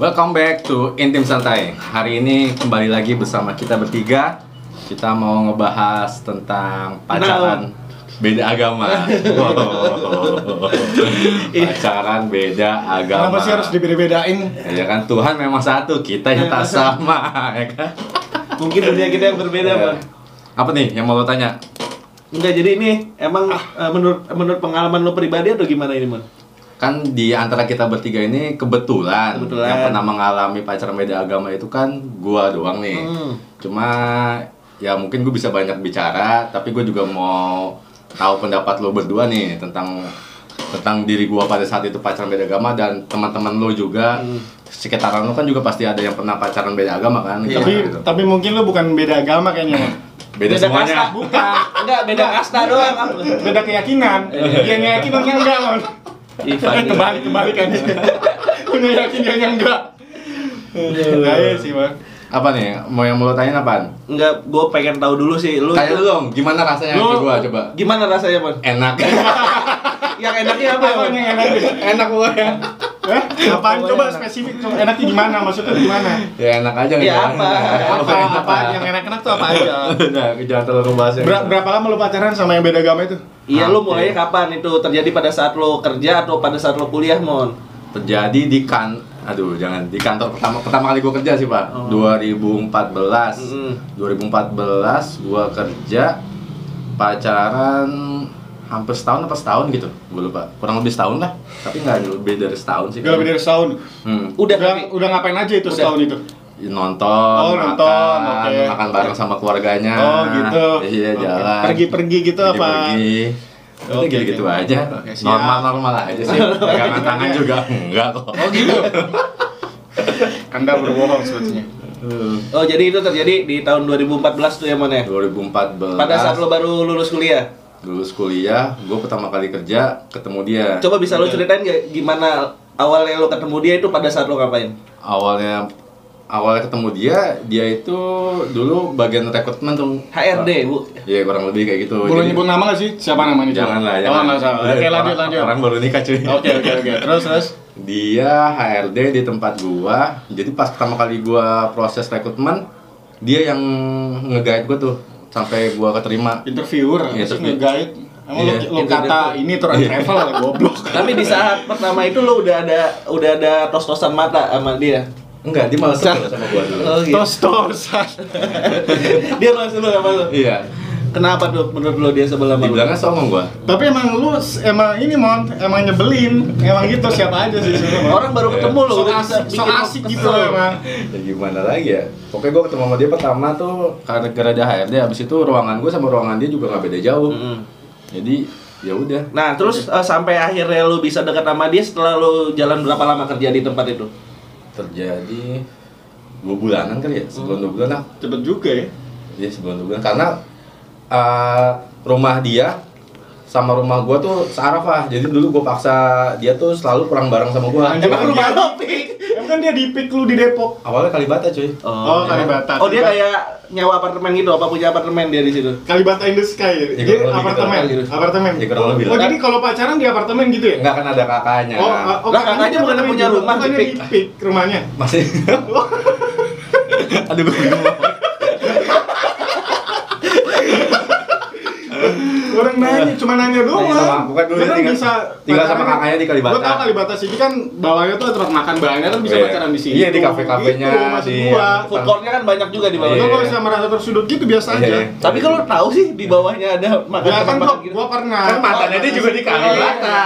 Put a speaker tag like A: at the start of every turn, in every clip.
A: welcome back to Intim Santai. Hari ini kembali lagi bersama kita bertiga. Kita mau ngebahas tentang pacaran beda agama. Wow. pacaran beda agama.
B: Kenapa
C: Nah.
B: sih harus dibeda-bedain?
A: Ya kan Tuhan memang satu, kita yang tak sama, ya kan?
C: Mungkin dunia kita yang
B: Iya,
C: berbeda, Bang.
A: Apa nih yang mau lo tanya?
C: Enggak, jadi ini emang eh, menurut menurut pengalaman lo pribadi atau gimana ini, Mon?
A: Kan di antara kita bertiga ini kebetulan,
C: Kebetulan.
A: yang pernah mengalami pacaran beda agama itu kan gua doang nih.
C: Hmm.
A: Cuma ya mungkin gue bisa banyak bicara, tapi gue juga mau tahu pendapat lo berdua nih tentang tentang diri gua pada saat itu pacaran beda agama dan teman-teman lo juga
C: Hmm.
A: sekitaran lo kan juga pasti ada yang pernah pacaran beda agama kan
C: Iya.
B: Tapi
A: Gimana gitu?
B: tapi mungkin lu bukan beda agama kayaknya. Mon.
A: beda, semuanya
C: kasta, bukan. Enggak, beda kasta doang. Bang.
B: Beda keyakinan.
C: Iya.
B: Dia yang yakin dia yang enggak, Mon.
C: Ih, Fadil.
B: Kebalik kebalik aja. Punya yakin dia yang enggak. Ayo sih, Bang.
A: apa nih mau yang mau lo tanyain apaan
C: Enggak, gue pengen tahu dulu sih lu.
A: tanya lu dong gimana rasanya
B: Lu-
A: ke gua coba
C: Gimana rasanya, Mon?
A: enak
C: Yang enaknya apa,
B: Apa
C: Mon?
B: yang enak?
A: enak gue ya
B: Hah? Apaan
C: Apa
B: coba
C: yang enak?
B: spesifik? Coba enaknya gimana? Maksudnya gimana?
A: ya enak aja
C: Ya,
A: ngejalanin.
C: apa? Iya.
B: Apa apa yang enak-enak tuh apa aja?
A: udah jangan terlalu bahas yang
B: Ber-
A: itu.
B: berapa lama lu pacaran sama yang beda agama itu?
C: Iya, lu
A: Oke.
C: mulainya kapan itu? Terjadi pada saat lo kerja atau pada saat lo kuliah, Mon?
A: terjadi di kan aduh jangan di kantor pertama pertama kali gue kerja sih pak
C: Oh.
A: 2014
B: Hmm.
C: Mm.
A: 2014 gue kerja pacaran hampir setahun apa setahun gitu gue lupa kurang lebih setahun lah tapi nggak lebih dari setahun sih
B: Udah lebih dari setahun.
A: Hmm.
C: Iya. Udah,
B: udah,
C: tapi-
B: udah ngapain aja itu
C: Udah.
B: setahun itu?
A: nonton
B: Oh, nonton,
A: makan
B: oke.
A: makan bareng sama keluarganya
B: Oh, gitu.
A: iya
B: Oke.
A: jalan
B: Pergi-pergi gitu apa?
A: pergi
B: Oke,
A: gitu-gitu
B: oke.
A: aja
B: Oke, siap.
A: normal-normal aja sih pegangan tangan juga enggak kok
B: Oh gitu. Anda berbohong sebetulnya.
C: Oh, jadi itu terjadi di tahun 2014 tuh ya, Mon ya?
A: 2014
C: Pada saat lo baru lulus kuliah.
A: lulus kuliah gue pertama kali kerja ketemu dia
C: Coba bisa lo ceritain gak gimana awalnya lo ketemu dia itu pada saat lo ngapain?
A: awalnya awalnya ketemu dia dia itu dulu bagian rekrutmen tuh
C: HRD, Bu.
A: Iya kurang lebih kayak
C: Oh,
A: gitu
B: Boleh
A: Jadi-
B: nyebut nama gak sih? Siapa namanya? coba?
A: jangan lah
B: Oh,
A: jangan
B: nggak usah.
A: Udah,
B: Oke, lanjut,
A: orang-
B: lanjut.
A: orang baru nikah cuy
B: Oke, oke, oke. Terus, terus.
A: dia HRD di tempat gua jadi pas pertama kali gua proses rekrutmen dia yang nge-guide gua tuh sampai gua keterima
B: Interviewer,
A: Iya,
B: terus
A: interview.
B: nge-guide. Emang
A: Iya.
B: lo, lo kata ini tour
C: Iya.
B: and travel lah, goblok.
C: Tapi di saat pertama itu lo udah ada udah ada tos-tosan mata sama dia.
A: enggak dia malah sebel sama gua dulu
C: Oh gitu.
B: Tos, tos.
C: dia langsung lo sama lo.
A: iya
C: Kenapa tuh menurut lo dia sebelah sama lo?
A: dibilangnya songong gua
B: Tapi emang lu, s- emang ini, Mon. Emang nyebelin. Emang gitu siapa aja sih. sebenarnya, Mon.
C: Orang baru
A: Iya.
C: ketemu lo
B: So
C: Oh, udah bisa
B: asik, so
C: bikin lo
B: asik gitu
C: kesel.
B: emang.
A: ya gimana lagi ya pokoknya gue ketemu sama dia pertama tuh karena gara ada HRD habis itu ruangan gue sama ruangan dia juga nggak beda jauh
C: Mm-mm.
A: jadi ya udah
C: Nah, terus eh, sampai akhirnya lo bisa dekat sama dia setelah lo jalan berapa lama kerja di tempat itu?
A: terjadi dua bulanan kali ya sebelum dua bulan lah
B: Cepet juga ya.
A: ya sebelum dua bulan karena eh, rumah dia sama rumah gue tuh searah lah jadi dulu gue paksa dia tuh selalu kurang bareng sama gue
B: Anjing.
C: Emang rumah lo Pik?
B: Emang kan dia di pick lu di Depok.
A: awalnya Kalibata cuy
B: Oh,
C: iya.
B: Kalibata.
C: Oh, dia kayak nyewa apartemen gitu, apa punya apartemen dia di situ?
B: Kalibata in the Sky
C: Iya,
B: ya?
A: Ya,
B: Dia
A: kurang lebih
B: apartemen,
A: gitu.
B: apartemen.
A: Ya, kurang lebih.
B: Oh, jadi kalau pacaran di apartemen gitu ya?
A: nggak kan ada kakaknya
B: Oh, ah,
C: Iya.
B: oh,
C: Lah, kakaknya bukan
B: apartemen
C: punya
B: juga.
C: rumah,
B: Bukannya
C: di pick.
B: di pick rumahnya.
A: masih aduh gue bingung
B: Orang nanya, cuma nanya doang.
A: Iya. Nanya sama aku kan dulu
B: Beneran
A: tinggal-
B: bisa
A: tinggal sama
B: pacaran.
A: kakaknya di Kalibata.
B: Gua tau Kalibata City kan bawahnya tuh tempat makan banyak kan bisa
A: Iya.
B: pacaran di sini.
A: Iya, di kafe-kafenya,
B: Gitu, maksud
A: di-
B: gua.
C: Food courtnya kan banyak juga di bawah.
B: Lo
A: Iya.
B: kalau bisa merasa tersudut gitu biasa
A: Iya,
B: aja.
A: iya.
C: Tapi kalau tahu sih di bawahnya ada makan
B: Ya kan
C: tempat
B: gua,
C: gitu.
B: gua pernah.
A: kan matanya
B: Oh,
A: dia juga di Kalibata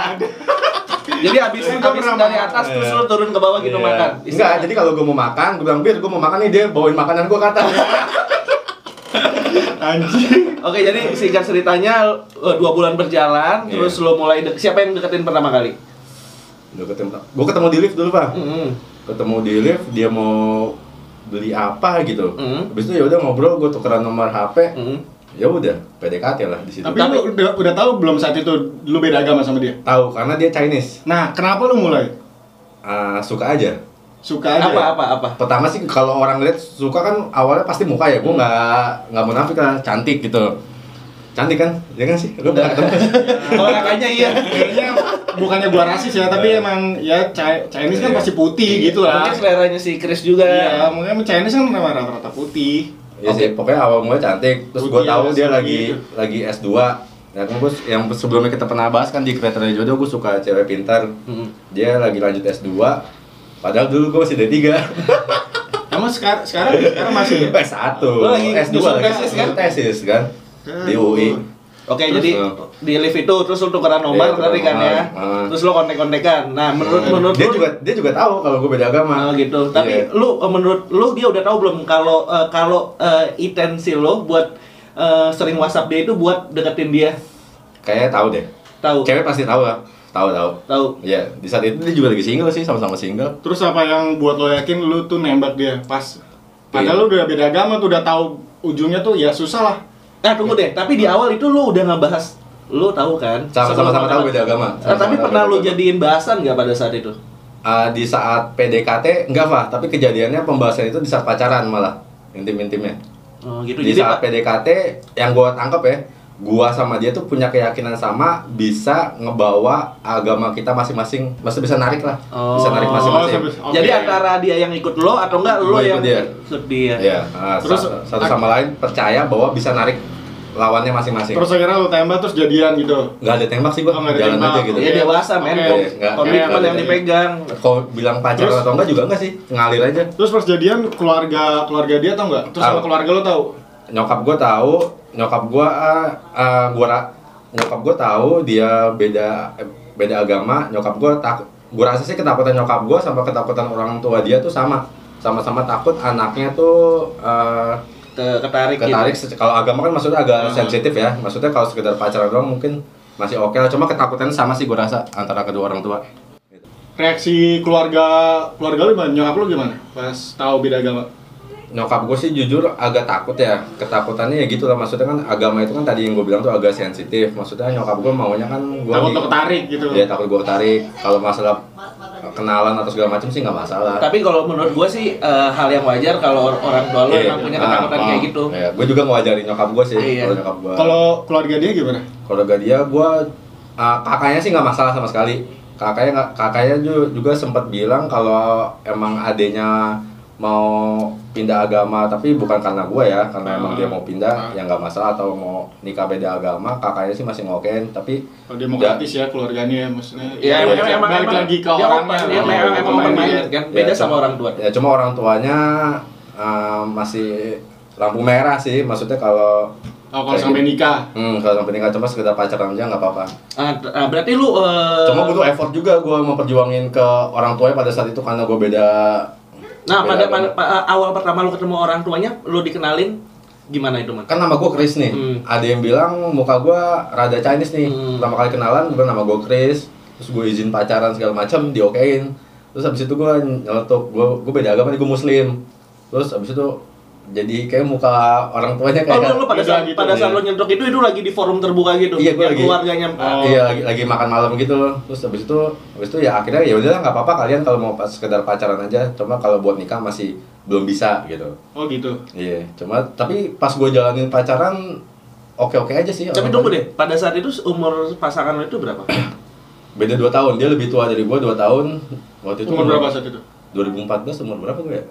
C: Jadi habis
B: Kan gua
C: habis
B: pernah
C: dari
B: makan.
C: atas terus lu turun ke bawah gitu
A: Iya.
C: makan.
A: Enggak, jadi kalau gue mau makan, gue bilang, Bir, gue mau makan nih, dia bawain makanan gue kata
B: Anjing.
C: Oke, jadi singkat ceritanya eh, dua bulan
A: Iya.
C: berjalan, terus lo mulai de- siapa yang deketin pertama kali?
A: Udah ketemu, gue ketemu di lift dulu, Pak
C: Mm-mm.
A: Ketemu di lift, dia mau beli apa gitu
C: Mm.
A: Habis itu ya udah ngobrol, gue tukeran nomor HP
C: Mm-mm.
A: Ya udah, PDKT lah di situ
B: Tapi,
C: Hmm. Tapi-
B: lu udah, udah tahu belum saat itu lu beda agama sama dia?
A: Tahu, karena dia Chinese
B: Nah, kenapa lu mulai?
A: Ah, Suka aja
B: Suka aja.
C: Apa
A: ya?
C: apa apa?
A: Pertama sih, kalau orang lihat suka kan awalnya pasti muka ya Gue nggak nggak munafik lah, cantik gitu Cantik kan? Ya kan sih? Lu pernah ketemu?
C: Kalau kakaknya iya.
B: Kayaknya bukannya gua rasis ya, tapi emang ya Chi- Chinese kan
A: Iya.
B: pasti putih gitu lah.
C: Mungkin seleranya si Chris juga.
B: Iya, mungkin Chinese kan memang rata-rata putih.
A: Ya sih, pokoknya awal mulai cantik, terus gue
B: Putih,
A: tahu
B: ya,
A: dia
B: segi
A: lagi
B: gitu.
A: lagi S2. Nah, kan gua- yang sebelumnya kita pernah bahas kan di kriteria jodoh gue suka cewek pintar.
C: Hmm.
A: Dia lagi lanjut S2. Padahal dulu gue masih D3.
B: Emang sekarang sekarang sekarang masih ya?
A: S1.
C: Lo lagi
A: S2
C: nyusun
A: lagi.
C: tesis kan? Ah,
A: Tesis kan?
B: Hmm.
A: Di UI.
C: Oke,
A: Terus,
C: jadi
A: eh,
C: di lift itu terus lu tukeran
A: Iya,
C: nomor
A: tukeran
C: tadi kan ya.
A: nomor. Ah. Iya.
C: Terus lu kontek-kontekan. Nah, menurut menurut
A: dia
C: lu-
A: juga dia juga tahu kalau gue beda agama.
C: Ah, gitu. Tapi
A: Iya.
C: lu eh, menurut lu dia udah tahu belum kalau eh, kalau eh, intensi lo buat eh, sering WhatsApp dia itu buat deketin dia?
A: kayaknya tahu deh.
C: Tahu.
A: Cewek pasti tahu lah. Tahu tahu.
C: Tahu.
A: Iya, di saat itu dia juga lagi single sih, sama-sama single.
B: Terus apa yang buat lo yakin lu tuh nembak dia pas?
A: Iya.
B: Padahal lu udah beda agama tuh udah tahu ujungnya tuh ya susah lah.
C: Nah, tunggu deh. Tapi di awal itu lu udah ngebahas lu tahu kan?
A: Hmm. Sama-sama
C: Sebelum-
A: tahu beda agama.
C: Eh, tapi
A: Sama-sama
C: pernah
A: tahu
C: lu
A: beda agama.
C: jadiin bahasan nggak pada saat itu?
A: Eh, di saat PDKT enggak lah, tapi kejadiannya pembahasan itu di saat pacaran malah intim-intimnya.
C: Oh, gitu.
A: Di
C: Jadi
A: saat
C: Pak,
A: PDKT yang gua tangkap ya, gua sama dia tuh punya keyakinan sama bisa ngebawa agama kita masing-masing, maksudnya bisa narik lah, bisa narik
C: Oh,
A: masing-masing.
B: sampai- oke. ya.
C: jadi antara dia yang ikut lo atau enggak lo
A: Gua ikut
C: yang
A: dia.
C: ikut dia.
A: Iya, nah,
B: Terus,
A: sa- satu sama lain percaya bahwa bisa narik lawannya masing-masing.
B: Terus akhirnya lu tembak terus jadian gitu.
A: Nggak ada tembak sih gua,
B: Oh, nggak ada
A: jalan
B: tembak.
A: aja gitu.
C: Iya, Dia
B: Oke.
C: dewasa men,
B: Oke,
A: nggak-
C: komitmen
A: nggak-
C: yang dipegang.
A: Kalau bilang pacar
B: Terus-
A: atau enggak juga enggak sih, ngalir aja.
B: Terus pas jadian keluarga keluarga dia tau nggak? Terus sama
A: Tahu.
B: keluarga lu tahu?
A: nyokap gue tahu nyokap gue eh gue nyokap gue tahu dia beda eh, beda agama nyokap gue takut gue rasa sih ketakutan nyokap gue sama ketakutan orang tua dia tuh sama sama-sama takut anaknya tuh eh,
C: Ke- Ketarik,
A: ketarik
C: gitu.
A: se- kalau agama kan maksudnya agak
B: Hmm.
A: sensitif ya maksudnya kalau sekedar pacaran doang mungkin masih oke lah cuma ketakutan sama sih gue rasa antara kedua orang tua
B: Reaksi keluarga keluarga lu gimana? Nyokap lu gimana? Pas tahu beda agama?
A: nyokap gue sih jujur agak takut ya ketakutannya ya gitu lah maksudnya kan agama itu kan tadi yang gue bilang tuh agak sensitif maksudnya nyokap gue maunya kan gue
B: Takut lu ketarik gitu.
A: Iya takut gue tarik. Kalau masalah kenalan atau segala macam sih nggak masalah.
C: Tapi kalau menurut gua sih eh, hal yang wajar kalau or- orang tua lo
A: Iya,
C: emang punya
A: ah,
C: ketakutan
A: ah.
C: kayak gitu.
A: Iya, gue juga ngawajarin nyokap gue sih.
C: Iya.
A: Kalau nyokap gue. Kalau
B: Kalau keluarga dia gimana?
A: keluarga dia, gue ah, kakaknya sih nggak masalah sama sekali. Kakaknya nggak, kakaknya ju- juga sempat bilang kalau emang adenya mau pindah agama tapi bukan karena gue ya karena emang
B: Ah.
A: dia mau pindah
B: Ah.
A: ya nggak masalah atau mau nikah beda agama kakaknya sih masih ngokein tapi
B: Kalau demokratis ya keluarganya ya maksudnya.
C: Ya, emang, emang, emang,
B: balik lagi ke
C: dia
B: orangnya.
C: open,
B: Ah,
C: Dia
A: Iya,
C: memang emang
A: open
C: open
A: minded.
C: minded kan, beda
A: Iya,
C: sama
A: cuma-
C: orang tua.
A: Ya cuma orang tuanya eh, masih lampu merah sih, maksudnya kalau
B: Oh, kalau sampai nikah.
A: hmm, kalau sampai nikah cuma sekedar pacaran aja nggak apa-apa.
C: Ah, t- ah, berarti lu eh,
A: Cuma butuh effort juga gue memperjuangin ke orang tuanya pada saat itu karena gue beda.
C: Nah,
A: beda
C: pada,
A: agama.
C: pada- pa- awal pertama lu ketemu orang tuanya, lu dikenalin gimana itu, Man?
A: kan nama gue Chris nih.
C: Hmm.
A: Ada yang bilang muka gue rada Chinese nih.
C: Hmm.
A: Pertama kali kenalan gue nama gue Chris, terus gue izin pacaran segala macam diokein. Terus habis itu gue nyeletuk, gue gue beda agama nih gue muslim. Terus habis itu jadi kayak muka orang tuanya
C: Oh,
A: kayak
C: lu, lu pada
B: Beda
C: saat
B: gitu,
C: pada
A: kan?
C: saat
A: iya.
C: lu nyentok itu itu lagi di forum terbuka gitu.
A: Iya, gua
C: yang
A: lagi.
C: keluarganya.
B: Oh.
A: Iya lagi, lagi makan malam gitu loh. Terus habis itu habis itu ya akhirnya ya udahlah nggak apa-apa kalian kalau mau pas sekedar pacaran aja. Cuma kalau buat nikah masih belum bisa gitu.
B: Oh gitu.
A: Iya, cuma tapi pas gue jalanin pacaran oke-oke aja sih.
C: Tapi
A: orang-
C: tunggu deh, pada saat itu umur pasangan lu itu berapa?
A: Beda 2 tahun, dia lebih tua dari gue 2 tahun. Waktu itu
B: Umur berapa saat itu?
A: 2014 umur berapa gue ya?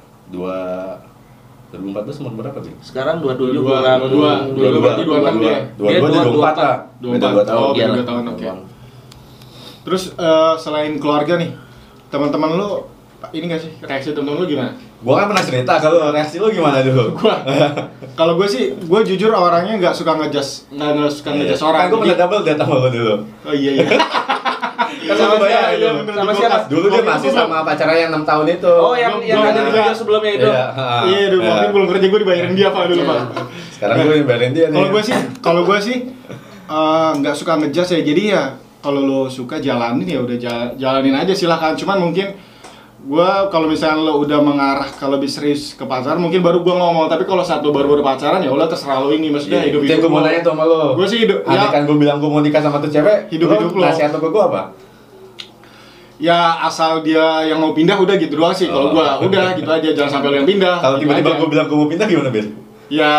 A: 2 2014 umur berapa ya? sih?
C: Sekarang 27
B: Dua-dua,
C: kurang
B: dua-dua,
C: dua-dua,
B: dua-dua berarti dua-dua
C: dua-dua.
B: dia.
A: 22
C: Dia dua-dua.
A: 24 lah. Beda 2
B: 24.
A: tahun.
B: Oh, beda
A: Iya.
B: dua tahun, oke. Terus eh, selain keluarga nih, teman-teman lu ini gak sih reaksi teman-teman lu gimana?
A: Gua kan pernah cerita kalau reaksi lu gimana dulu?
B: Gua kalau gue sih gue jujur orangnya nggak suka ngejas nggak nggak suka ngejas
A: Kan
B: orang.
A: gue pernah
B: Jadi-
A: double date sama lu dulu.
B: oh iya iya.
A: Kan sama
C: Sama
A: siapa?
C: siapa?
A: Iya,
B: bener,
C: Sama siapa?
B: di kulkas.
A: Dulu dia
B: Waktu itu
A: masih
B: gua-
A: sama pacarnya yang 6 tahun itu.
C: Oh, yang
B: Belum-
C: yang
B: belum
C: ada
B: ada.
C: video sebelumnya itu.
A: Iya, ha.
B: Iya, dulu mungkin belum kerja gue dibayarin dia pak dulu
C: Iya.
B: pak.
A: Sekarang gue yang bayarin dia nih. Iya.
B: Kalau gue sih, kalau gue sih eh, nggak suka ngejas ya. Jadi ya kalau lo suka jalanin ya udah jala- jalanin aja silahkan. Cuman mungkin gue kalau misalnya lo udah mengarah ke lebih serius ke pacaran mungkin baru gue ngomong. Tapi kalau saat lo baru baru pacaran ya udah terserah lo ini maksudnya
A: Iya,
B: hidup
A: itu
B: hidup.
A: yang gue mau
B: lo.
A: nanya tuh sama lo
B: Gua sih hidup-
A: Andai
B: ya.
A: kan gue bilang gue mau nikah sama tuh cewek
B: Hidup-hidup
A: lo
B: lo.
A: Nasihat lo ke gue apa?
B: Ya asal dia yang mau pindah udah gitu doang sih. Kalau gue udah gitu aja jangan sampai lo yang pindah.
A: Oh. Kalau
B: Gitu
A: tiba-tiba
B: aja.
A: gue bilang gue mau pindah gimana Bil?
B: ya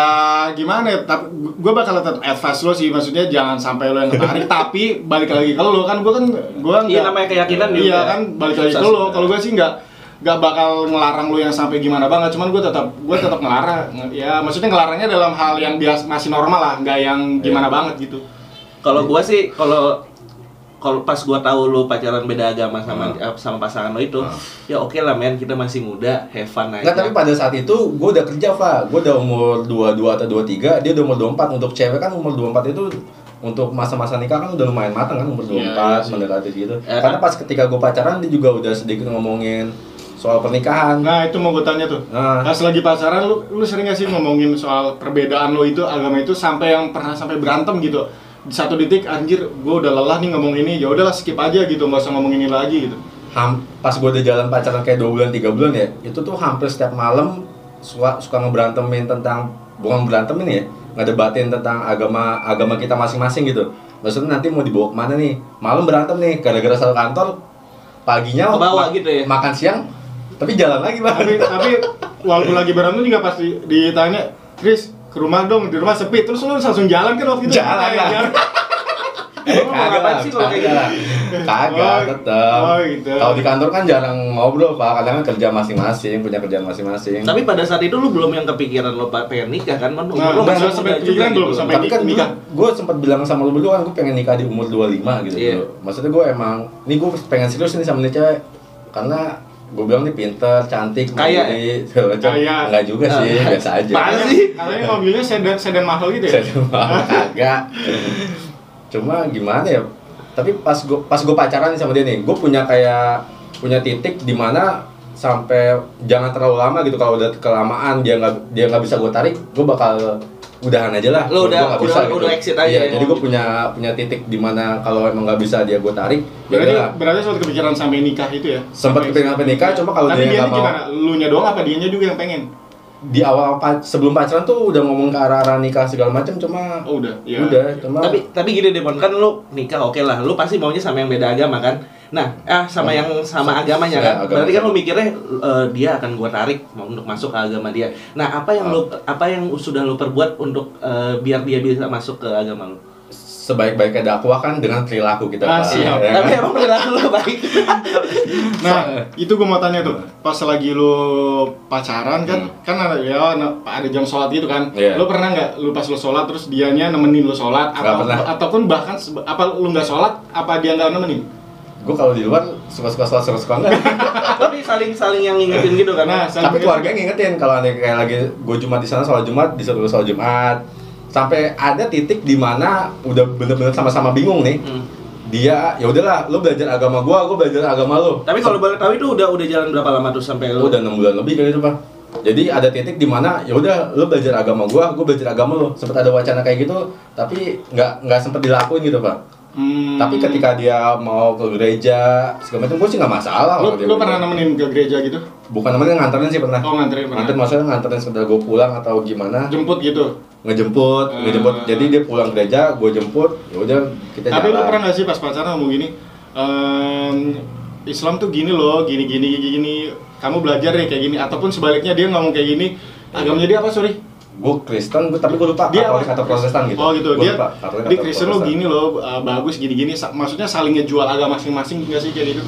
B: gimana ya tapi gue bakal tetap advice lo sih maksudnya jangan sampai lo yang ketarik tapi balik lagi kalau lo kan gue kan gue
C: Iya, namanya keyakinan juga.
B: iya kan balik lagi ke lo kalau gue sih nggak nggak bakal ngelarang lo yang sampai gimana banget cuman gue tetap gue tetap ngelarang ya maksudnya ngelarangnya dalam hal yang biasa masih normal lah nggak yang
C: Iya.
B: gimana banget gitu
C: Kalau gua sih kalau kalau pas gua tahu lu pacaran beda agama sama
A: Hmm.
C: eh, sama pasangan lo itu,
A: Hmm.
C: ya oke lah men, kita masih muda, have fun aja.
A: Nggak, Nah, tapi pada saat itu gue udah kerja, Fa. Gue udah umur 22 atau 23, dia udah umur 24. Untuk cewek kan umur 24 itu untuk masa-masa nikah kan udah lumayan matang kan umur 24
B: Iya, iya sih. eh.
A: mendekati gitu.
C: Ya,
A: Karena
C: kan?
A: pas ketika gue pacaran dia juga udah sedikit ngomongin soal pernikahan.
B: nah itu mau gue tanya tuh
A: Nah,
B: pas lagi pacaran lu lu sering gak sih ngomongin soal perbedaan lo itu agama itu sampai yang pernah sampai berantem gitu di satu titik anjir gue udah lelah nih ngomong ini ya udahlah skip aja gitu nggak usah ngomong ini lagi gitu
A: ham- pas gue udah jalan pacaran kayak 2 bulan 3 bulan ya, itu tuh hampir setiap malam suka suka ngeberantemin tentang bukan berantemin ya, ngedebatin tentang agama agama kita masing-masing gitu. Maksudnya nanti mau dibawa kemana nih? Malam berantem nih, gara-gara satu kantor paginya
C: Ke bawah
A: ma-
C: gitu ya?
A: makan siang tapi jalan lagi bang
B: tapi tapi walaupun lagi berantem juga pasti ditanya Chris ke rumah dong di rumah sepi terus lu langsung jalan kan waktu itu
A: Jalan lah.
B: Jalan.
A: Eh,
C: Lu mau ngapain sih kalau kayak gitu?
A: kagak kagak
B: Oh,
A: tetep
B: oh gitu.
A: kalau di kantor kan jarang ngobrol pak kadang kan kerja masing-masing punya kerjaan masing-masing
C: Tapi pada saat itu lu belum yang kepikiran lo pa- pengen nikah kan? Umur
B: Nah,
C: lu
A: belum
C: masih muda juga
B: sampai kepikiran
C: gitu
B: belum,
C: loh.
B: sampai
A: tapi kan
B: nikah.
A: gue sempat bilang sama lu dulu kan gue pengen nikah di umur 25 gitu
C: Iya.
A: dulu. maksudnya gue emang nih gue pengen serius nih sama nih cewek karena gue bilang nih pinter cantik
C: Kaya ya?
A: mandiri, segala macam.
B: Kaya.
A: enggak juga sih
C: Ah.
A: biasa aja
C: Apaan sih?
B: Kalian mobilnya sedan sedan mahal gitu ya?
A: saya cuma Ah, kagak cuma gimana ya tapi pas gue pas gue pacaran sama dia nih gue punya kayak punya titik di mana sampai jangan terlalu lama gitu kalau udah kelamaan dia nggak dia nggak bisa gue tarik gue bakal udahan aja lah
C: Lo
A: Gua-
C: udah-
A: gua nggak
C: udah- udah exit aja
A: Iya,
C: ya.
A: jadi gue punya punya titik di mana kalau emang nggak bisa dia gue tarik ya
B: Berarti
A: udahlah.
B: berarti sempat kepikiran sampai nikah itu ya?
A: Sempat
B: Sampai-
A: kepikiran sampai nikah, cuma kalau
B: Tapi
A: dia nggak
B: nya
A: mau-
B: gimana? Lu nya doang apa dianya juga yang pengen?
A: di awal pa- sebelum pacaran tuh udah ngomong ke arah arah nikah segala macam cuma
B: Oh udah, ya.
A: udah cuma
C: Tapi tapi gini deh Mon, kan lu nikah oke lah, lu pasti maunya sama yang beda agama kan? Nah, ah sama yang sama agamanya
A: Ya,
C: kan.
A: agama.
C: Berarti kan lu mikirnya eh, dia akan gua tarik mau untuk masuk ke agama dia. Nah, apa yang lu apa yang sudah lu perbuat untuk eh, biar dia bisa masuk ke agama lu?
A: sebaik-baiknya dakwah kan dengan perilaku kita
B: Ah,
A: Pak.
B: siap.
A: Ya kan?
C: Tapi emang perilaku lu baik.
B: Nah, itu gue mau tanya tuh, pas lagi lu pacaran kan,
A: Hmm.
B: kan ada ya na- ada jam sholat gitu kan.
A: Iya.
B: Lu pernah nggak lu pas lu sholat terus dianya nemenin lu sholat
A: Nggak
B: atau
A: pernah.
B: ataupun bahkan sebe- apa lu nggak sholat apa dia nggak nemenin?
A: gue kalau di luar suka-suka sholat suka-suka enggak
C: Tapi saling-saling yang ngingetin gitu kan.
B: Nah, saling-
A: tapi keluarga ngingetin kalau ada kayak lagi gue jumat di sana sholat jumat disuruh sholat jumat sampai ada titik di mana udah bener-bener sama-sama bingung nih
C: Hmm.
A: dia ya udahlah lo belajar agama gue gue belajar agama lo
C: Tapi kalau boleh tahu itu udah udah jalan berapa lama tuh sampai lu?
A: udah enam bulan lebih kali itu pak jadi ada titik di mana ya udah lo belajar agama gue gue belajar agama lo sempet ada wacana kayak gitu tapi nggak nggak sempet dilakuin gitu pak
B: Hmm.
A: tapi ketika dia mau ke gereja segala macam gue sih nggak masalah
B: lu,
A: kalau dia
B: lu
A: mau.
B: pernah nemenin ke gereja gitu?
A: bukan namanya nganterin sih pernah
B: Oh, nganterin pernah.
A: nganterin maksudnya nganterin sekedar gue pulang atau gimana
B: Jemput gitu.
A: ngejemput
B: Eh.
A: ngejemput jadi dia pulang gereja gue jemput ya udah kita
B: Tapi lu
A: jalan
B: pernah gak sih pas pacaran ngomong gini, ehm, Islam tuh gini loh, gini gini gini, gini. kamu belajar ya kayak gini, ataupun sebaliknya dia ngomong kayak gini, agamanya dia apa sorry?
A: gue Kristen gua, tapi gue lupa
B: Dia
A: Katolik
B: apa?
A: atau Protestan gitu
B: Oh gitu,
A: Gua
B: dia,
A: lupa, Katolik
B: dia
A: atau
B: Kristen lo
A: Protestan.
B: gini loh, eh, bagus gini gini, Sa- maksudnya saling ngejual agama masing-masing gak sih kayak gitu?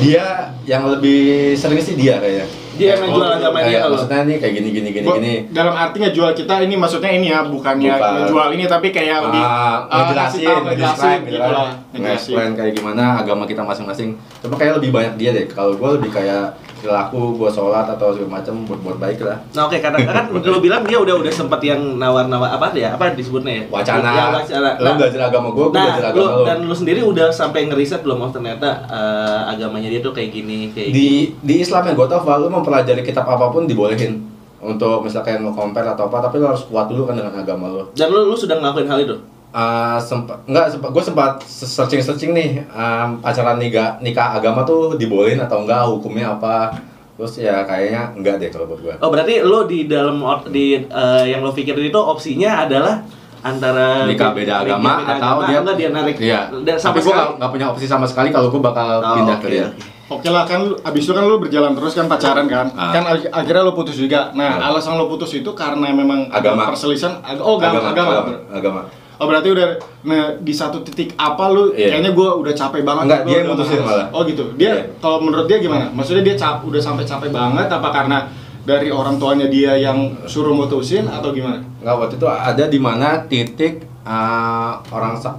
A: dia yang lebih sering sih dia kayaknya
C: Dia yang menjual
A: Oh,
C: agama
A: kayak
C: dia kalau.
A: maksudnya nih kayak gini gini gini
B: Gua-
A: gini
B: Dalam arti ngejual kita ini maksudnya ini ya, bukannya
A: Bukan.
B: ngejual ini tapi kayak lebih eh,
A: Ah, ngejelasin,
B: kasih tahu, ngejelasin
A: ngejelasin,
B: gitu lah, ngejelasin.
A: ngejelasin kayak gimana agama kita masing-masing. Cuma kayak lebih banyak dia deh. Kalau gue lebih kayak perilaku, gue sholat atau segala macam buat buat baik lah.
C: Nah oke karena kan lu bilang dia udah udah sempat yang nawar-nawar apa ya apa disebutnya ya
A: Wacana,
C: Ya, wacana.
A: lo
C: Nah,
A: belajar agama gue, gue
C: nah
A: belajar
C: lu,
A: agama lo.
C: dan lu sendiri udah sampai ngeriset belum oh ternyata eh, agamanya dia tuh kayak gini kayak gitu. gini.
A: Di di Islam yang gue tau, Val, lu mempelajari kitab apapun dibolehin untuk misalkan mau compare atau apa, tapi lo harus kuat dulu kan dengan agama lo.
C: Dan lu lu sudah ngelakuin hal itu.
A: Ah, sempat enggak sempat gue sempat searching searching nih um, acara nikah nikah agama tuh dibolehin atau enggak hukumnya apa terus ya kayaknya enggak deh kalau buat gue
C: Oh berarti lu di dalam or- di eh, yang lu pikirin itu opsinya adalah antara
A: nikah beda
C: Eh, nikah
A: agama
C: beda
A: atau
C: agama,
A: dia
C: enggak dia narik.
A: iya
C: Dan
A: tapi
C: sampai
A: gue
C: sekarang
A: nggak punya opsi sama sekali kalau gue bakal
C: Oh,
A: pindah
C: oke,
A: ke dia
C: oke.
B: Oke lah kan lu- abis itu kan lu berjalan terus kan pacaran kan
A: Ah.
B: kan ak- akhirnya lu putus juga nah
A: Ah.
B: alasan lu putus itu karena memang ada
A: Agama.
B: perselisihan ag- oh agama, agama,
A: agama, agama.
B: oh berarti udah nah, di satu titik apa lu
A: Iya.
B: kayaknya gua udah capek banget
A: Enggak,
B: gua
A: dia yang
B: udah
A: mutusin
B: males.
A: malah.
B: oh gitu dia
A: Iya.
B: kalau menurut dia gimana maksudnya dia cap udah sampai capek banget apa karena dari orang tuanya dia yang suruh mutusin atau gimana
A: Enggak waktu itu ada di mana titik eh, orang sa-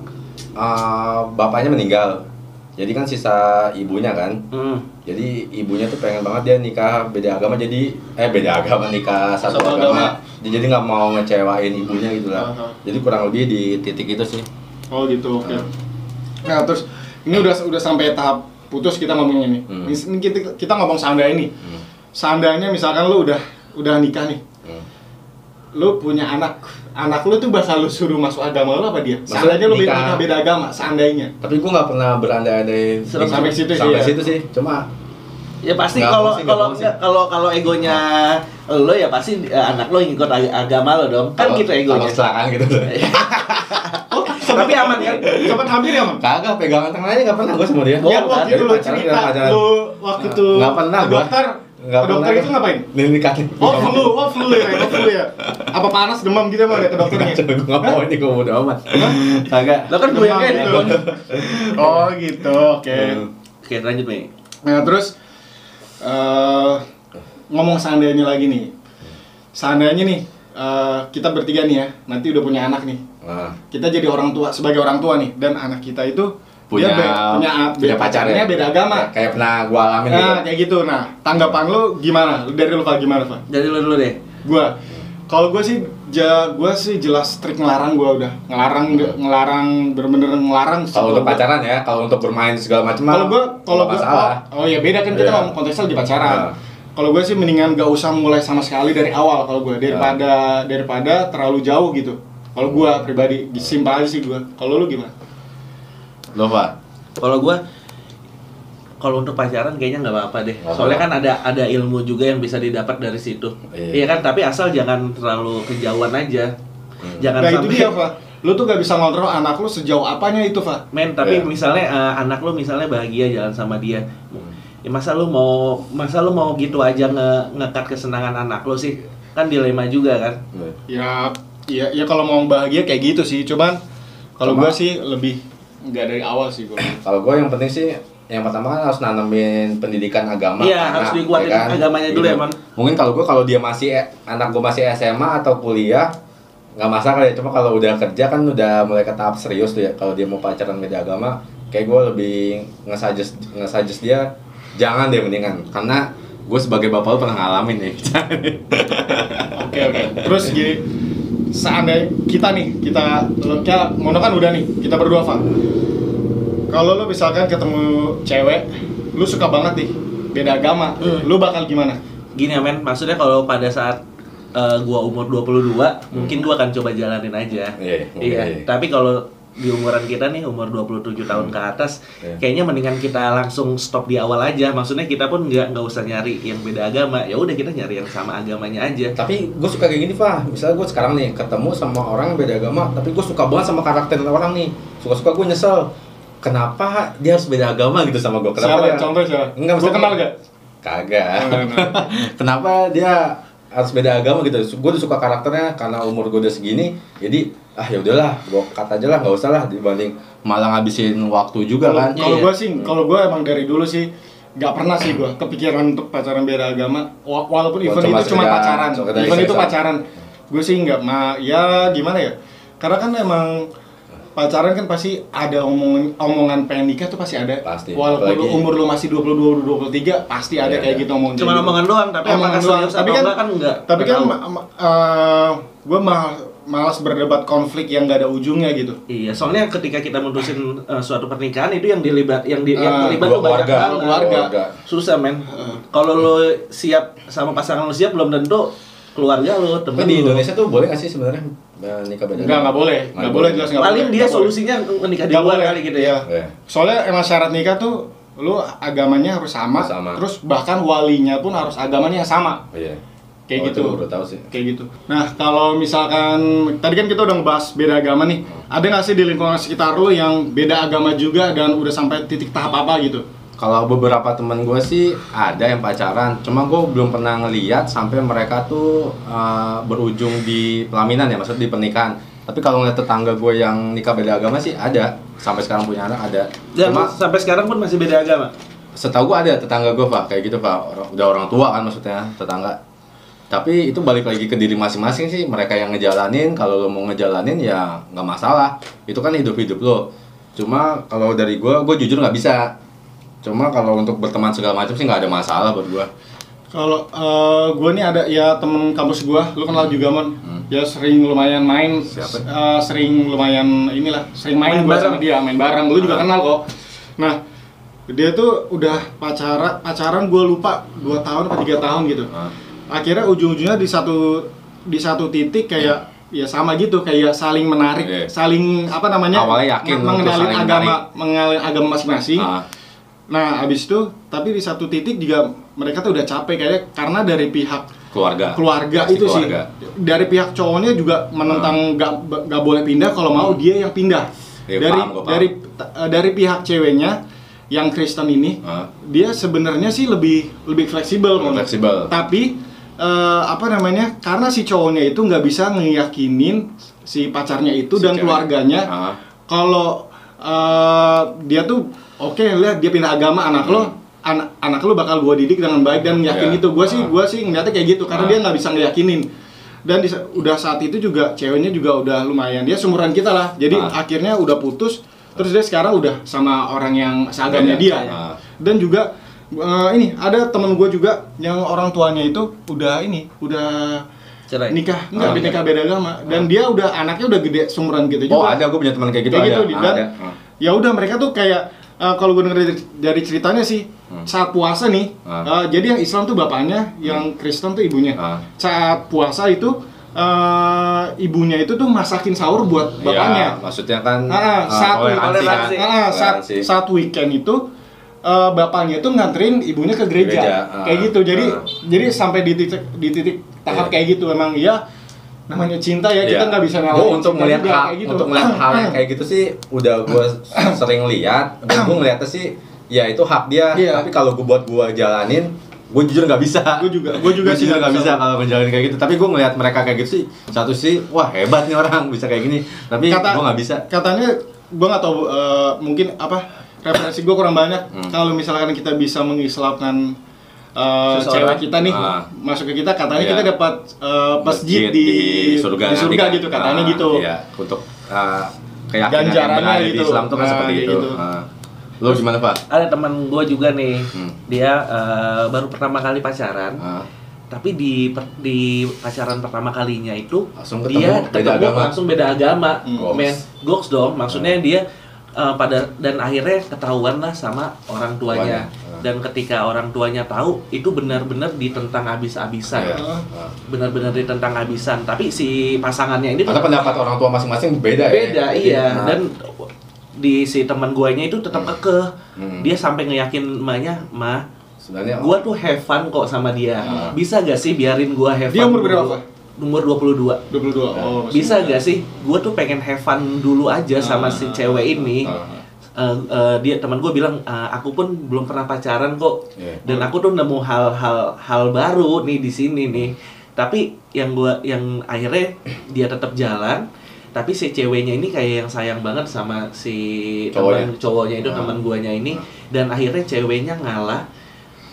A: eh, bapaknya meninggal. Jadi kan sisa ibunya kan.
C: Hmm.
A: Jadi ibunya tuh pengen banget dia nikah beda agama jadi eh beda agama nikah satu
B: Satu
A: agama.
B: agama. Uh-huh.
A: Dia jadi nggak mau ngecewain ibunya gitu lah.
B: Aha.
A: Jadi kurang lebih di titik itu sih.
B: Oh gitu, oke.
A: Hmm.
B: Nah terus ini udah udah sampai tahap putus kita ngomongin ini.
A: Hmm.
B: Ini kita kita ngomong sanda ini.
A: Hmm.
B: Sandanya misalkan lu udah udah nikah nih,
A: Hmm.
B: lu punya anak. Anak lu tuh bahasa lu suruh masuk agama lu apa dia?
A: Maksudnya
B: Seandainya lu beda,
A: nikah.
B: nikah beda agama, seandainya.
A: Tapi gue nggak pernah berandai-andai
C: Sampai
A: sampai
B: situ sih,
A: sampai
B: ya.
A: situ sih. Cuma
C: Ya pasti
A: Nggak
C: kalau
A: mau sih, nggak
C: kalau
A: mau sih.
C: nggak- kalau kalau egonya lo ya pasti eh, anak lo yang ikut ag- agama lo dong. Kan
A: kalau-
C: gitu
A: Kalau
C: egonya.
A: kecelakaan gitu.
B: Oh,
C: Tapi aman kan?
B: sempat hampir ya, Mam?
A: Kagak pegangan tangan aja nggak pernah gue sama dia.
C: Bohong,
B: ya,
C: kan?
B: waktu itu
A: Dari
B: lu
A: Oh, pacaran
B: cerita,
A: dan pacaran.
B: lu waktu itu
A: Nggak pernah
B: ke
A: gua.
B: dokter,
A: Nggak
B: ke dokter
A: pernah.
B: itu ngapain?
A: Ini nikahin.
B: Oh, flu, oh flu ya, oh flu ya. Apa panas demam gitu emang ya ke dokternya?
A: Gue nggak mau ini gue bodo amat. Kagak.
C: Lo kan gue yang
A: ya.
C: kayak
B: Demam gitu. Oh gitu, oke.
A: Hmm.
C: Oke, lanjut nih.
B: Nah terus eh ngomong seandainya lagi nih, seandainya nih eh, kita bertiga nih ya, nanti udah punya anak nih,
A: Nah,
B: kita jadi orang tua sebagai orang tua nih, dan anak kita itu
A: punya
B: dia Iya, be- punya,
A: punya
B: be- pacarnya beda agama.
A: Ya, kayak pernah gua alamin
B: Nah
A: gitu.
B: kayak gitu. Nah tanggapan lu gimana? Lu Dari lu Pak, gimana Pak?
C: Dari lo dulu deh.
B: Gua, kalau gue sih, ja, gue sih jelas trik ngelarang gue udah ngelarang ngelarang bener-bener ngelarang.
A: Kalau untuk
B: Gua-
A: pacaran ya, kalau untuk bermain segala macam mah,
B: Kalau gua kalau
A: nggak
B: gua
A: masalah.
B: oh, oh ya beda kan kita
A: Iya.
B: ngomong konteksnya di pacaran.
A: Iya.
B: Kalau gua sih mendingan gak usah mulai sama sekali dari awal kalau
A: Iya.
B: gua daripada daripada terlalu jauh gitu. Kalau gua pribadi disimpal aja sih gua. Kalau lu gimana?
A: Lo Pak.
C: Kalau gue kalau untuk pacaran kayaknya nggak apa-apa deh.
A: Nggak
C: Soalnya
A: apa-apa.
C: kan ada ada ilmu juga yang bisa didapat dari situ.
A: Iya.
C: Iya kan, tapi asal jangan terlalu kejauhan aja.
A: Hmm.
C: Jangan
B: Nah itu
C: sampai
B: dia, Fa. Lu tuh gak bisa ngontrol anak lu sejauh apanya itu, Fa.
C: Men, tapi
A: Iya.
C: misalnya eh, anak lu misalnya bahagia jalan sama dia.
A: Hmm.
C: Ya masa lu mau masa lu mau gitu aja nge ngekat kesenangan anak lu sih? Kan dilema juga kan.
A: Iya.
B: Ya ya ya kalau mau bahagia kayak gitu sih. Cuman kalau
A: Cuma-
B: gua sih lebih nggak dari awal sih gua.
A: Kalau gua yang penting sih yang pertama kan harus nanamin pendidikan agama.
C: Iya,
A: anak, kan? Gitu.
C: harus dikuatin agamanya dulu ya, Mon.
A: Mungkin kalau gua kalau dia masih e, anak gua masih SMA atau kuliah nggak masalah ya. Cuma kalau udah kerja kan udah mulai ke tahap serius tuh ya. Kalau dia mau pacaran beda agama, kayak gua lebih nge-suggest nge-suggest dia jangan deh mendingan karena gue sebagai bapak lu pernah ngalamin nih.
B: Oke oke. Terus gini, seandainya kita nih, kita kita Mono kan udah nih, kita berdua Fak. Kalau lu misalkan ketemu cewek, lu suka banget nih beda agama,
C: Hmm.
B: lu bakal gimana?
C: Gini ya, men, maksudnya kalau pada saat eh, gua umur 22, mungkin gua akan coba jalanin aja.
A: Hmm. Iya, iya,
C: Iya,
A: iya.
C: tapi kalau di umuran kita nih umur 27 tahun ke atas
A: Iya.
C: kayaknya mendingan kita langsung stop di awal aja maksudnya kita pun nggak nggak usah nyari yang beda agama ya udah kita nyari yang sama agamanya aja
A: tapi gue suka kayak gini Fah misalnya gue sekarang nih ketemu sama orang yang beda agama tapi gue suka banget sama karakter orang nih suka suka gue nyesel kenapa dia harus beda agama gitu sama gue kenapa
B: Siapa?
A: dia
B: Contoh siapa?
A: Enggak,
B: Gua
A: maksudnya-
B: kenal Oh, iya, gak?
A: kagak
B: Enggak, enggak.
A: kenapa dia harus beda agama gitu gue udah suka karakternya karena umur gue udah segini jadi ah ya udahlah gue kata aja lah nggak usah lah dibanding malah ngabisin waktu juga
B: Kalau
A: kan
B: kalau
C: Iya.
B: gua sih, kalau gua emang dari dulu sih nggak pernah sih gua kepikiran untuk pacaran beda agama Wa- walaupun
A: Gua
B: event
A: cuma
B: itu cuma
A: sekedar-
B: pacaran
A: sekedar
B: event itu
A: iseng-iseng.
B: pacaran gue sih nggak ma ya gimana ya karena kan emang pacaran kan pasti ada omongan omongan pengen nikah tuh pasti ada
A: Pasti,
B: walaupun lu
A: apalagi-
B: umur lu masih 22 23 pasti ada
A: Iya,
B: kayak
A: iya.
B: gitu omongan
C: cuman
B: kayak gitu.
C: omongan doang tapi
B: Omongan
C: apakah
B: doang.
C: serius atau
B: Tapi kan-
C: enggak kan enggak
B: tapi kan
C: Nggak tahu.
B: gue malas berdebat konflik yang gak ada ujungnya gitu
C: Iya, soalnya ketika kita mutusin eh, suatu pernikahan itu yang dilibat yang di, yang
B: Ah,
C: terlibat
A: dua
C: tuh banyak
A: keluarga,
C: banget.
A: dua keluarga.
C: Susah, men. Kalau lo siap sama pasangan lo siap belum tentu keluarga lo, temen
A: tapi di
C: lo.
A: Indonesia tuh boleh nggak sih sebenarnya eh, nikah beda
B: Enggak, nggak boleh
A: Nggak boleh.
B: nggak boleh jelas nggak boleh
C: Paling dia
B: Nggak boleh.
C: solusinya menikah di
B: Nggak
C: luar
B: boleh.
C: kali gitu ya.
A: Iya.
B: Soalnya emang syarat nikah tuh lu agamanya harus sama,
A: Sama.
B: terus bahkan walinya pun harus agamanya yang sama.
A: iya Oh,
B: Kayak gitu.
A: itu gua udah tahu sih
B: Kayak gitu. Nah, kalau misalkan tadi kan kita udah ngebahas beda agama nih. Ada nggak sih di lingkungan sekitar lu yang beda agama juga dan udah sampai titik tahap apa gitu?
A: Kalau beberapa temen gue sih ada yang pacaran, cuma gue belum pernah ngeliat sampai mereka tuh uh, berujung di pelaminan ya, maksudnya di pernikahan. Tapi kalau ngeliat tetangga gue yang nikah beda agama sih ada, sampai sekarang punya anak ada.
B: Ya,
C: Dan
A: Cuma
C: sampai sekarang pun masih beda agama.
A: setahu gue ada tetangga gue pak kayak gitu pak, Orang- udah orang tua kan maksudnya tetangga. Tapi itu balik lagi ke diri masing-masing sih, mereka yang ngejalanin, kalau lo mau ngejalanin ya nggak masalah, itu kan hidup-hidup lo. Cuma kalau dari gue, gue jujur nggak bisa cuma kalau untuk berteman segala macam sih nggak ada masalah buat gua
B: Kalau eh, gua nih ada ya temen kampus gua, lu kenal juga mon. Ya sering lumayan
A: Hmm.
B: main,
A: Siapa?
B: s- eh, sering lumayan inilah, sering main,
C: Main
B: gua
C: bareng.
B: sama dia, main bareng. Lu
A: Ah.
B: juga kenal kok. Nah, dia tuh udah pacaran, pacaran gua lupa 2 tahun atau 3 tahun gitu.
A: Ah.
B: Akhirnya ujung-ujungnya di satu di satu titik kayak ya sama gitu kayak saling menarik,
A: Iya.
B: saling apa namanya?
A: Awalnya yakin
B: men-
A: untuk
B: mengenali
A: saling
B: agama,
A: menarik.
B: mengenali agama masing-masing.
A: Ah,
B: Nah, abis itu, tapi di satu titik juga mereka tuh udah capek kayaknya karena dari pihak
A: keluarga
B: keluarga
A: Pasti
B: itu
A: keluarga. Ah.
B: sih, dari pihak cowoknya juga menentang nggak nggak boleh pindah kalau mau dia yang pindah.
A: Hmm. Iya,
B: dari
A: paham, gua paham.
B: dari t- eh, dari pihak ceweknya yang Kristen ini,
A: Ah.
B: dia sebenarnya sih lebih lebih fleksibel,
A: Lebih
B: Mon.
A: fleksibel.
B: Tapi eh, apa namanya? Karena si cowoknya itu nggak bisa ngeyakinin si pacarnya itu
A: Si
B: dan
A: cewek.
B: keluarganya
A: Ah.
B: kalau eh, dia tuh oke lihat dia pindah agama anak lo anak anak lo bakal gua didik dengan baik dan yakin
A: Hmm. Iya.
B: itu gue sih
A: Ah.
B: gua sih ngeliatnya kayak gitu karena
A: Ah.
B: dia nggak bisa ngeyakinin dan di sa- udah saat itu juga ceweknya juga udah lumayan dia seumuran kita lah jadi
A: Ah.
B: akhirnya udah putus terus dia sekarang udah sama orang yang seagamanya
A: Beda.
B: dia
A: Ah.
B: dan juga eh, ini ada temen gue juga yang orang tuanya itu udah ini udah
C: Cerai.
B: nikah enggak
A: Ah,
B: dia
A: iya.
B: nikah beda agama dan dia udah anaknya udah gede seumuran gitu
A: oh
B: juga
A: ada gue punya teman kayak gitu
B: kayak
A: ada
B: gitu di
A: Ah,
B: dan
A: ada. Ah.
B: ya udah mereka tuh kayak eh, kalau gue denger dari- dari ceritanya sih saat puasa nih
A: Hmm. Ah. Hmm.
B: eh, jadi yang Islam tuh bapaknya yang Kristen tuh ibunya
A: Ah.
B: saat puasa itu eh, ibunya itu tuh masakin sahur buat
A: ya,
B: bapaknya
A: maksudnya kan
B: Ah, ah,
A: ah,
B: satu
A: toleransi kan
C: toleransi.
B: Ah, saat,
A: Toleransi.
B: saat weekend itu eh, bapaknya itu nganterin ibunya ke gereja,
A: Gereja, ah.
B: kayak gitu jadi
A: Ah.
B: jadi sampai di titik di titik tahap
A: Iya.
B: kayak gitu emang ya namanya cinta ya kita
A: Iya.
B: nggak bisa gitu,
A: Gua
B: ngalahin
A: untuk melihat hal, untuk melihat hal yang
B: kayak
A: kayak gitu sih udah gue sering lihat dan gue ngeliatnya sih ya itu hak dia
B: Iya.
A: tapi kalau gue buat gue jalanin gue jujur nggak bisa
B: Gua juga- gua
A: Gua
B: juga sih
A: jujur
B: nggak
A: nggak
B: bisa.
A: bisa kalau ngejalanin kayak gitu tapi gue ngeliat mereka kayak gitu sih satu sih wah hebat nih orang bisa kayak gini tapi
B: Kata-
A: gue nggak bisa
B: katanya gue nggak tahu eh, mungkin apa referensi gue kurang banyak
A: Hmm.
B: kalau misalkan kita bisa mengislamkan eh,
C: Seseorang.
B: cewek kita nih
A: Ah.
B: masuk ke kita katanya
A: Iya.
B: kita dapat eh, masjid di, di
A: nanti
B: surga
A: kan.
B: gitu katanya
A: Ah,
B: gitu
A: iya, untuk ah, keyakinan yang
B: Ganjarannya
A: benar di
B: gitu.
A: Islam tuh kan
B: Ah,
A: seperti
B: kayak
A: itu
B: gitu.
A: Ah. lo gimana pak
C: Ada teman gue juga nih,
A: Hmm.
C: dia eh, baru pertama kali pacaran.
A: Ah,
C: Tapi di per- di pacaran pertama kalinya itu
A: Langsung ketemu
C: dia
A: beda
C: ketemu
A: agama.
C: langsung beda agama, Oh,
B: Hmm.
A: Goks. Hmm.
C: men goks dong. Maksudnya dia eh, pada dan akhirnya ketahuan lah sama orang tuanya.
A: Tuanya. Ah.
C: Dan ketika orang tuanya tahu itu benar-benar ditentang
A: iya.
C: habis-habisan.
A: Ah.
C: Benar-benar ditentang habisan. Tapi si pasangannya ini
A: Karena pendapat orang tua masing-masing beda, ya.
C: beda iya
A: Nah,
C: dan di si teman guanya itu tetap kekeh
A: Hmm.
C: dia sampai ngeyakin emaknya mah
A: sebenarnya
C: gua tuh have fun kok sama dia
A: Hmm.
C: bisa gak sih biarin gua have
B: Dia
C: fun
B: umur
C: dulu?"
B: berapa?
C: umur 22
B: 22
A: Iya.
B: oh, masih
C: bisa
B: muda.
C: gak sih gua tuh pengen have fun dulu aja sama
B: Ah.
C: si cewek ini
A: Ah.
C: Eh, eh, dia teman gue bilang "Eh, aku pun belum pernah pacaran kok
A: Iya.
C: dan aku tuh nemu hal-hal hal baru nih di sini nih tapi yang gua yang akhirnya dia tetap jalan tapi si ceweknya ini kayak yang sayang banget sama si
A: Cowoknya.
C: teman cowoknya itu
A: Ah.
C: teman guanya ini dan akhirnya ceweknya ngalah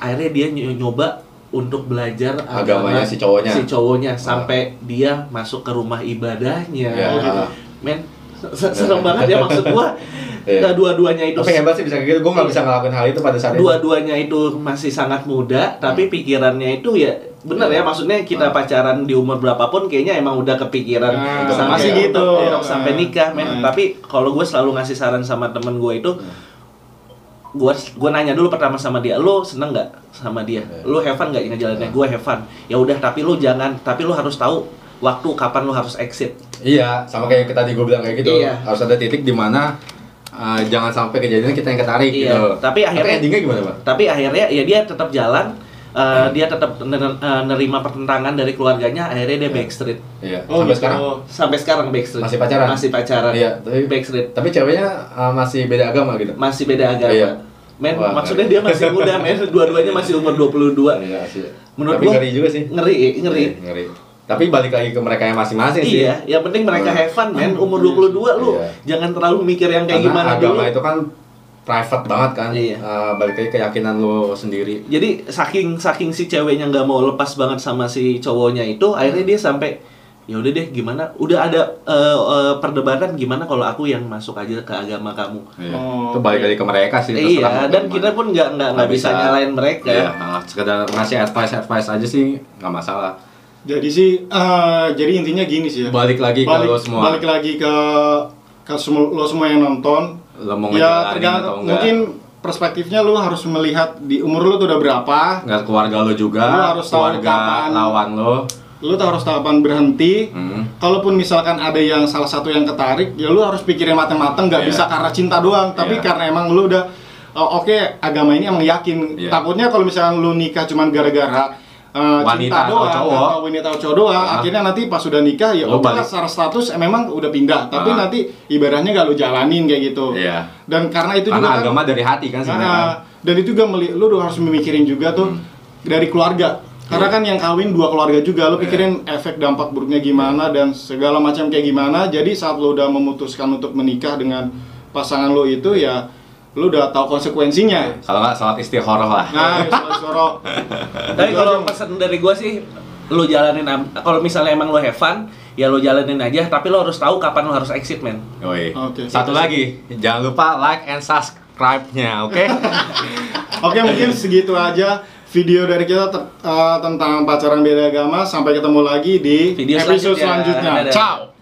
C: akhirnya dia ny- nyoba untuk belajar
A: Agamanya si cowoknya. Ah.
C: si cowoknya sampai dia masuk ke rumah ibadahnya
A: Ya.
C: Oh, gitu. men se- serem banget ya maksud gua
A: Iya.
C: dua-duanya itu
A: tapi hebat sih bisa kayak gitu gue nggak bisa ngelakuin hal itu pada saat itu
C: dua-duanya itu masih sangat muda tapi pikirannya itu ya benar
A: Iya.
C: ya maksudnya kita
A: Ah.
C: pacaran di umur berapapun kayaknya emang udah kepikiran
B: Ah,
C: sama
A: masih
C: untuk-
B: gitu.
C: untuk
B: Ah,
C: sampai nikah men
B: ah.
C: tapi kalau gue selalu ngasih saran sama temen gue itu gue gue nanya dulu pertama sama dia lo seneng nggak sama dia
A: Iya.
C: lo have fun nggak ngejalannya gue have fun ya udah tapi lo jangan tapi lo harus tahu waktu kapan lo harus exit
A: iya sama kayak tadi gue bilang kayak gitu
C: Iya.
A: harus ada titik di mana eh, jangan sampai kejadian kita yang ketarik
C: Iya,
A: gitu
C: tapi akhirnya-
A: endingnya gimana pak
C: tapi akhirnya ya dia tetap jalan eh, dia tetap ner- eh, nerima pertentangan dari keluarganya akhirnya
A: Iya.
C: dia backstreet
A: iya
B: oh,
A: sampai
B: gitu.
A: sekarang
C: sampai sekarang backstreet
A: Masih pacaran?
C: masih pacaran
A: Iya, tapi-
C: backstreet
A: tapi ceweknya eh, masih beda agama gitu
C: masih beda agama
A: Iya.
C: Men,
A: Wah,
C: maksudnya
A: ngeri.
C: dia masih muda, men. Dua-duanya masih umur 22.
A: Iya sih.
C: Menurut
A: Tapi
C: gua-
A: ngeri juga sih. Iya,
C: Ngeri, ngeri.
A: Ngeri. Tapi balik lagi ke mereka yang masing-masing sih.
C: Iya, yang penting mereka
A: Hmm.
C: have fun, men. Umur 22 lu
A: Iya.
C: jangan terlalu mikir yang kayak
A: Karena
C: gimana
A: agama
C: dulu.
A: itu kan private banget kan.
C: Iya.
A: Eh, balik lagi keyakinan lo sendiri.
C: Jadi saking saking si ceweknya nggak mau lepas banget sama si cowoknya itu, akhirnya dia sampai ya udah deh gimana udah ada eh, eh, perdebatan gimana kalau aku yang masuk aja ke agama kamu
A: Iya.
B: Oh,
A: itu balik
B: oke.
A: lagi ke mereka sih. terserah
C: iya
A: mau
C: dan
A: gimana.
C: kita pun nggak nggak nggak
A: Nggak
C: bisa
A: bisa.
C: nyalain mereka
A: Iya, nah, sekedar ngasih advice advice aja sih nggak masalah.
B: Jadi sih, eh, jadi intinya gini sih ya.
A: Balik lagi ke lo semua.
B: Balik lagi ke ke semua, lo semua yang nonton.
A: Lo mau
B: ya
A: ngejalanin atau
B: tergantung-
A: enggak?
B: mungkin perspektifnya lo harus melihat di umur lo tuh udah berapa.
A: nggak keluarga lo juga,
B: Lo harus tahu
A: keluarga
B: kapan.
A: lawan lo.
B: Lo tuh harus tahapan berhenti.
A: Hmm.
B: Kalaupun misalkan ada yang salah satu yang ketarik, ya lo harus pikirin mateng-mateng. Gak
A: Iya.
B: bisa karena cinta doang, tapi
A: Iya.
B: karena emang lo udah oh, oke agama ini emang yakin.
A: Iya.
B: Takutnya kalau misalkan lo nikah cuman gara-gara eh,
A: Wanita
B: cinta
A: atau
B: doang,
A: cowok.
B: atau wanita atau cowok doang,
A: Ah.
B: akhirnya nanti pas sudah nikah ya
A: Lo
B: udah
A: balik.
B: secara status eh, memang udah pindah, tapi
A: Ah.
B: nanti ibaratnya gak lo jalanin kayak gitu.
A: Iya.
B: Dan karena itu
A: Karena
B: juga kan-
A: agama dari hati kan sebenarnya.
B: Nah, dan itu juga meli- lu udah harus memikirin juga tuh
C: Hmm.
B: dari keluarga. Karena
A: Iya.
B: kan yang kawin dua keluarga juga,
C: Iya.
B: lu pikirin efek dampak buruknya gimana dan segala macam kayak gimana. Jadi saat lu udah memutuskan untuk menikah dengan pasangan lu itu ya lu udah tahu
C: Iya.
B: konsekuensinya.
A: Kalau nggak sholat istiqoroh lah.
B: Nah, ya soro-soro.
C: Tapi
B: Itu
C: kalau
B: aja.
C: pesan dari gua sih lo jalanin am- kalau misalnya emang lo have fun ya lo jalanin aja tapi lo harus tahu kapan lo harus exit men
A: Yoi.
B: Oke.
A: Satu lagi, jangan lupa like and subscribe-nya, oke?
B: Oke, mungkin segitu aja video dari kita ter- eh, tentang pacaran beda agama. Sampai ketemu lagi di
C: Video
B: episode
C: selanjutnya.
B: selanjutnya.
C: Dadah.
B: Ciao.